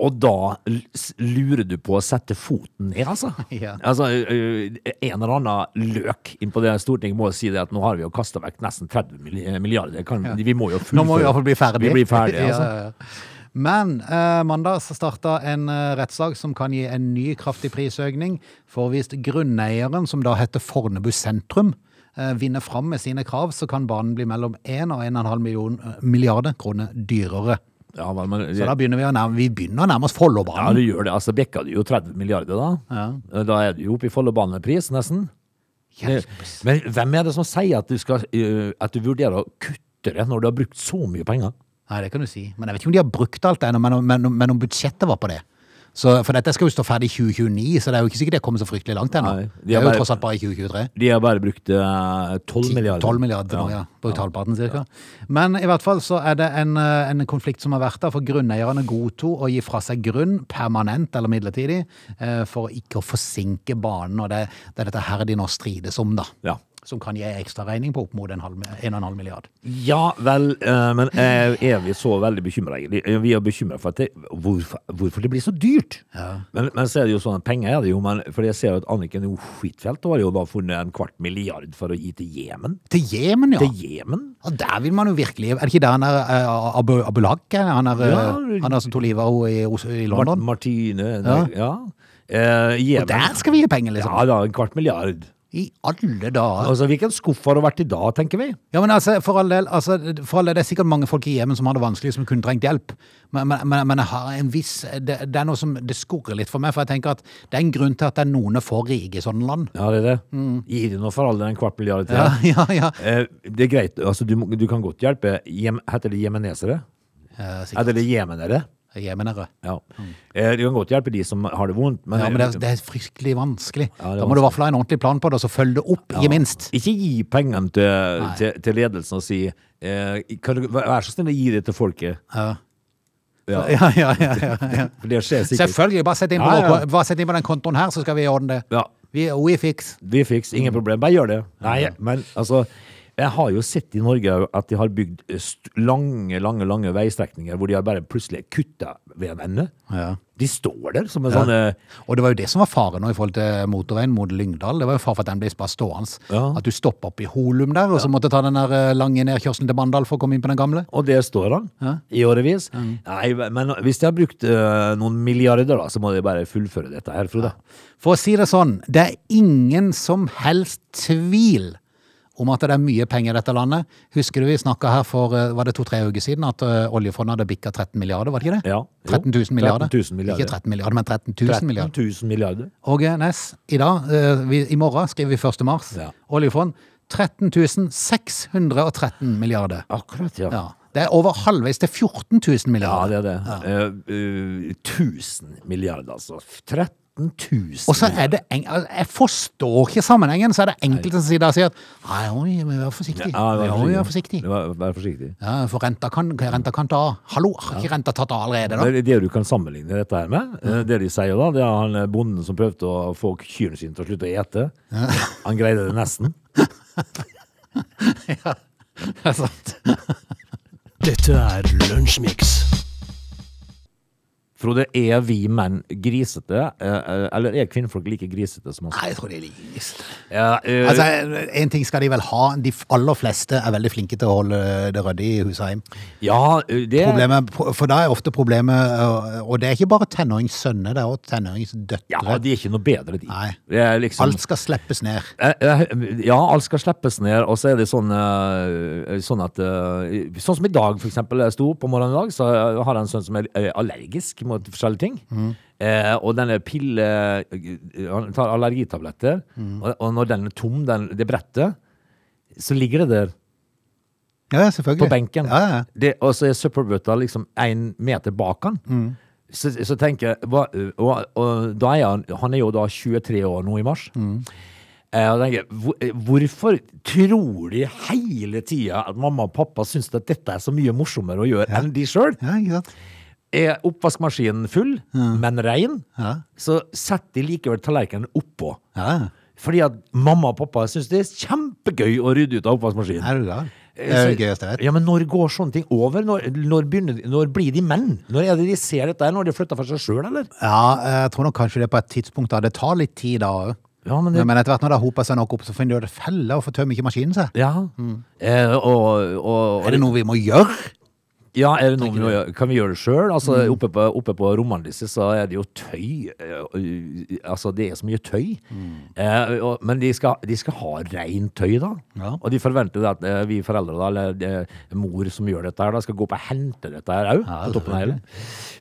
Og da l- s- lurer du på å sette foten ned, altså.
Ja.
altså ø, ø, en eller annen løk inn på det Stortinget må si det at nå har vi jo kasta vekk nesten 30 mil- milliarder. Kan, Vi må jo fullføre.
Nå må vi i hvert fall bli ferdig.
Vi blir ferdig, altså.
Ja, ja, ja. Men eh, mandag så starta en eh, rettssak som kan gi en ny kraftig prisøkning. For hvis grunneieren, som da heter Fornebu sentrum, eh, vinner fram med sine krav, så kan banen bli mellom 1 og 1,5 million, eh, milliarder kroner dyrere.
Ja, men, men,
Så da begynner vi å nærme, vi begynner å nærme oss
ja,
Follobanen.
du gjør det. Altså, Bekka du jo 30 milliarder, da. Eh, Da er du jo oppe i Follobanepris, nesten. Eh,
Hjelpes.
Men hvem er det som sier at du, skal, ø, at du vurderer å kutte det når du har brukt så mye penger?
Nei, det kan du si. Men jeg vet ikke om de har brukt alt det ennå, men, om- men, om- men om budsjettet var på det. Så, for dette skal jo stå ferdig i 2029, så det er jo ikke sikkert det kommer så fryktelig langt ennå.
Nei, de
Det
har
er jo
bare-
tross alt bare i 2023.
De har bare brukt ø, 12 milliarder.
12 eh, milliarder nå, ja. Brukt halvparten cirka. Men i hvert fall så er det en, eh, en konflikt som har vært der, for grunneierne godtok å gi fra seg grunn, permanent eller midlertidig, eh, for ikke å forsinke banen, og det, det er dette her de nå strides om da.
Ja.
Som kan gi ekstra regning på opp mot en, halv, en og en halv milliard.
Ja vel, eh, men eh, er vi så veldig bekymra egentlig? Eh, Vi er bekymra for at det, hvorfor, hvorfor det blir så dyrt. Men, men så er det jo sånn at penger er det jo, men for jeg ser jo at Anniken jo Huitfeldt har jo da funnet en kvart milliard for å gi til Jemen.
Til Jemen, ja.
Til Jemen?
Og der vil man jo virkelig, er det ikke der han er, eh, Abu, Abu Lak, er? han er, eh,
Ja.
han er som to livet av henne i, Os- i
Mart
London?
Martine Ja.
Ja.
ja. Eh, Jemen.
Og der skal vi gi penger, liksom.
Ja da, en kvart milliard.
I alle dager.
Altså, Hvilken skuff har det vært i dag, tenker vi?
Ja, men altså, for all del, altså, for all del det er sikkert mange folk i Jemen som har det vanskelig, som kunne trengt hjelp. Men, men, men, men jeg har en viss, det, det er noe som det skurrer litt for meg, for jeg tenker at det er en grunn til at det er noen er for rike i sånne land.
Ja, det er det. Gi det nå for all del en kvart milliard til.
Ja, ja, ja.
Eh, det er greit, altså, du, må- du kan godt hjelpe. Jem, heter det jemenesere?
Eh,
Er
sikkert
det det jemenere?
jemenere.
Ja. Eh, Du kan godt hjelpe de som har det vondt, men,
Mm. Ja, men det er, det er fryktelig vanskelig.
Ja, det er
Da må du i hvert fall ha en ordentlig plan på det, og så følge det opp, i minst.
ikke gi pengene til, til, til ledelsen og si eh, kan du, Vær vær så snill å gi det til folket.
Ja.
Ja,
Ja, ja, ja, ja, ja.
for det skjer sikkert.
Selvfølgelig, bare sett inn, på
Ja, ja.
vår- bare sett inn på den kontoen her, så skal vi ordne det.
Ja,
Vi, we fix.
vi fiks,
Mm.
ingen problem. Bare gjør det. Nei, men altså jeg har jo sett i Norge at de har bygd eh, st lange lange, lange veistrekninger hvor de har bare plutselig kutta ved en ende.
Ja.
De står der som en sånn eh,
Og det var jo det som var faren nå i forhold til motorveien mot Lyngdal. Det var jo fare for at den ble bare stående.
Ja.
At du stoppa opp i Holum der, og så måtte ta den der eh, lange nedkjørselen til Mandal for å komme inn på den gamle.
Og der står han i årevis. Nei, men hvis de har brukt eh, noen milliarder, da, så må de bare fullføre dette her, Frode.
For å si det sånn, det er ingen som helst tvil om at det er mye penger i dette landet. Husker du vi snakka her for eh, var det to-tre uker siden at eh, oljefondet hadde bikka 13 milliarder, var det ikke det?
Ja. Jo.
13 000 milliarder.
13 000 milliarder.
Ikke 13 milliarder, men 13 000
13
milliarder.
000 milliarder.
Åge Næss, i dag, eh, vi, i morgen skriver vi 1. mars,
Ja.
oljefond 13 613 milliarder.
Akkurat, ja.
Ja. Det er over halvveis til 14 000
Ja,
milliarder.
det er det. Eh, eh, 1000 milliarder, altså. 13 000.
Og så er det eng al- Jeg forstår ikke sammenhengen, så er det enkelte som sier, da sier at Nei, oi, vi må være forsiktig.
Ja,
vi må være forsiktig.
Vær, vær forsiktig.
Ja, for renta kan, renta kan ta av. Hallo, har ikke renta tatt av allerede, da?
Det, er det du kan sammenligne dette her med, eh, det de sier da, det er han eh, bonden som prøvde å få kyrne sine til å slutte å ete. Han greide det nesten.
Det er sant.
Dette er Lunsjmix.
Frode, er vi menn grisete, eh, eh, eller er kvinnfolk like grisete som oss?
Nei, jeg tror det er ligest.
Ja, eh,
Altså, en ting skal de vel ha. De aller fleste er veldig flinke til å holde det ryddig i huset hjem.
ja, eh, det
Problemet, for da er ofte problemet øh, Og det er ikke bare tenåringssønner, det er også
Ja,
tenåringsdøtre.
de er ikke noe bedre, de.
Nei.
Det er liksom,
Alt skal slippes ned.
Eh, eh, Ja, alt skal slippes ned, og så er det sånn, eh, sånn at eh, Sånn som i dag, for eksempel. Jeg sto opp om morgenen i dag, så har jeg en sønn som er eh, allergisk mot forskjellige ting.
Mm.
Eh, og denne pille eh, Han tar allergitabletter,
Mm.
og, og når den er tom, den, det brettet, så ligger det der
Ja, ja, selvfølgelig.
på benken.
Ja, ja.
Det, og så er søppelbøtta liksom én meter bak han.
Mm.
Så, så
Mm.
tenker jeg hva, og, og, da er han, han er jo da 23 år nå i mars. Eh, og jeg tenker, hvor- eh, hvorfor tror de hele tida at mamma og pappa syns at dette er så mye morsommere å gjøre enn de sjøl?
Ja, ikke sant?
Er oppvaskmaskinen full, men rein,
Ja.
så setter de likevel tallerkenen oppå.
Ja,
Fordi at mamma og pappa syns det er kjempegøy å rydde ut av oppvaskmaskinen.
er du gal? Det er jo det gøyeste jeg vet.
Ja, men når går sånne ting over? Når, når, begynner, de- når blir de menn? Når er det de ser dette her? Når de flytter for seg sjøl, eller?
Ja, jeg tror nok kanskje det er på et tidspunkt da det tar litt tid da òg.
Ja, men det-
Men etter hvert når det har hopa seg nok opp, så finner du det felle, og får tømme ikke maskinen seg?
Ja. Eh, og, og,
Er det noe vi må gjøre?
ja, er det noe vi må gjøre? Kan vi gjøre det sjøl? Altså,
Mm.
oppe, på, oppe på rommene disse så er det jo tøy. eh, og- Altså, det er så mye tøy.
Mm.
Eh, og, men de skal, de skal ha rent tøy, da.
Ja.
Og de forventer da at eh, vi foreldre, da, eller eh, mor som gjør dette her, da, skal gå opp og hente dette her òg.
Ja,
på toppen av hele.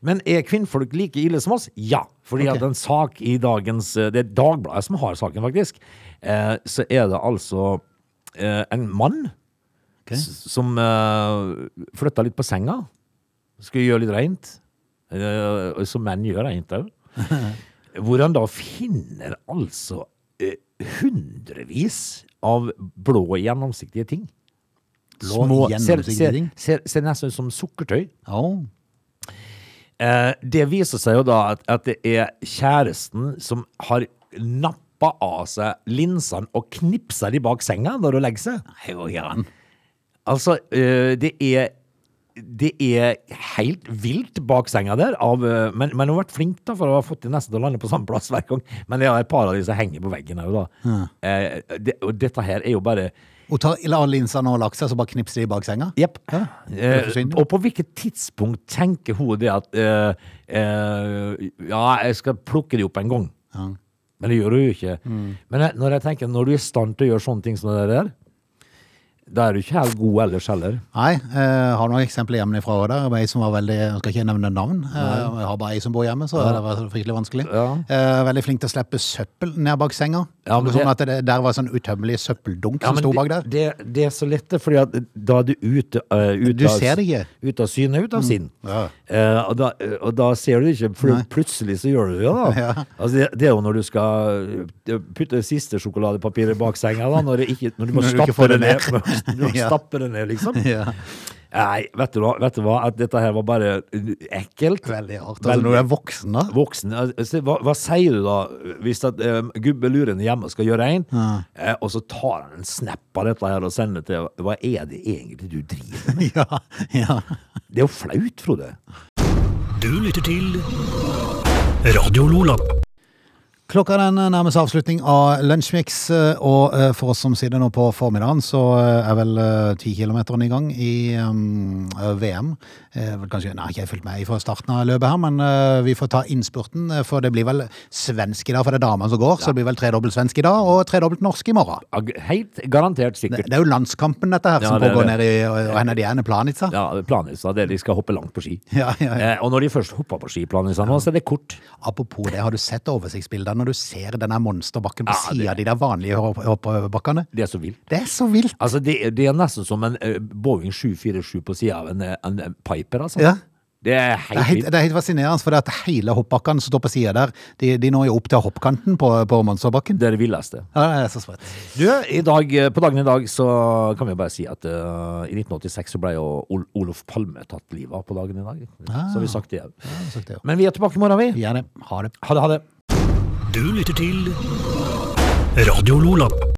Men er kvinnfolk like ille som oss? Ja. Fordi
Ok.
at en sak i dagens eh, Det er Dagbladet som har saken, faktisk. Eh, så er det altså eh, en mann
Ok.
s- som eh, flytta litt på senga. Skulle gjøre litt reint. Eh, som menn gjør reint òg. Hvor han da finner altså eh, hundrevis av blå, gjennomsiktige ting.
Blå,
ser,
gjennomsiktige
ser,
ting?
ser, ser nesten ut som sukkertøy.
Å,
Eh, det viser seg jo da at, at det er kjæresten som har nappa av seg linsene og knipsa de bak senga når hun legger seg.
Nei, hva gjør han?
Altså, eh, det er det er helt vilt bak senga der, av, eh, men, men hun har vært flink da for å ha fått de nesten til å lande på samme plass hver gang. Men det er et par av de som henger på veggen her, da. Eh, det, og dette her er jo bare
Hun tar la linsene og laksa, så bare knipser de i bak senga?
Jepp.
det
Eh,
forsvinner.
og på hvilket tidspunkt tenker hun det at eh, eh, Ja, jeg skal plukke de opp en gang. Men det gjør hun jo ikke. Men jeg, når jeg tenker, når du er i stand til å gjøre sånne ting som det der, da er du ikke helt god ellers heller.
Nei, jeg har noen eksempler hjemmefra òg der. Ei som var veldig Jeg skal ikke nevne navn. eh, Jeg har bare ei som bor hjemme, så det var fryktelig vanskelig.
Ja.
Eh, Veldig flink til å slippe søppel ned bak senga.
Ja, men
sånn
det-
at det der var sånn utømmelig søppeldunk
Ja,
som
men
sto bak
det,
der.
det, det er så lett, det, fordi at da er du ute, eh, ute
Du
av-
ser det ikke. Mm.
Ute av syne, ute av sinn.
Ja.
Eh, og, da, og da ser du det ikke, for plutselig så gjør du det, da.
Ja.
Altså, det, det er jo når du skal eh, putte det siste sjokoladepapiret bak senga, da, når, det ikke, når du må
Når du ikke
stappe
får
det
det
ned.
ned.
Du må
Ja.
stappe det ned, liksom.
Ja.
Nei, vet du, hva, vet du hva, at dette her var bare ekkelt.
Veldig hardt. Altså, når du er voksen, da.
Voksen, altså, hva, hva sier du da hvis at eh, gubbeluren hjemme skal gjøre en, eh, og så tar han en snap av dette her og sender til Hva er det egentlig du driver med?
Ja, ja.
Det er jo flaut, Frode.
Du lytter til Radio Lola.
Klokka den nærmer seg avslutning av Lunsjmix, eh, og eh, for oss som sitter nå på formiddagen, så eh, er vel eh, 10 kilometeren i gang i mm, eh, VM. Eh, vel Kanskje, nei, ikke jeg har fulgt med fra starten av løpet her, men eh, vi får ta innspurten, eh, for det blir vel svensk i dag, for det er damene som går, så det blir vel tredobbelt svensk i dag, og tredobbelt norsk i morgen.
Ja, g- Helt garantert
Det,
sikkert.
det er jo landskampen dette her,
Ja,
som
det er
pågår
det.
nede i og- og henne de ene planica.
Ja, Planhusa, det er de skal hoppe langt på ski.
Ja, ja, ja.
Eh, og når de først hopper på ski, Planhusa, nå, så er det kort.
Apropos det, har du sett oversiktsbildene når du ser denne monsterbakken på
Ja, det-
siden av de der vanlige hopp- hoppbakkene?
Det er så vilt.
Det er så vilt!
Altså, det, det er nesten som en eh, Boeing 747 på sida av en, eh, en, en Piper, altså.
Ja.
Det er
Det er,
helt
helt,
vilt.
det er helt fascinerende, for det at hele hoppbakkene som står på sida der, de, de når jo opp til hoppkanten på, på Monsterbakken.
Det er det villeste.
Ja, det er så sprøtt.
Du, i dag, på dagen i dag så kan vi bare si at eh, i 1986 så ble jo Ol Olof Palme tatt livet av på dagen i dag. Så har vi sagt det.
Ja, så det er jo-
Men vi er tilbake i morgen, vi.
Gjerne. Ha det.
Ha det, ha det.
Du lytter til Radio Lola.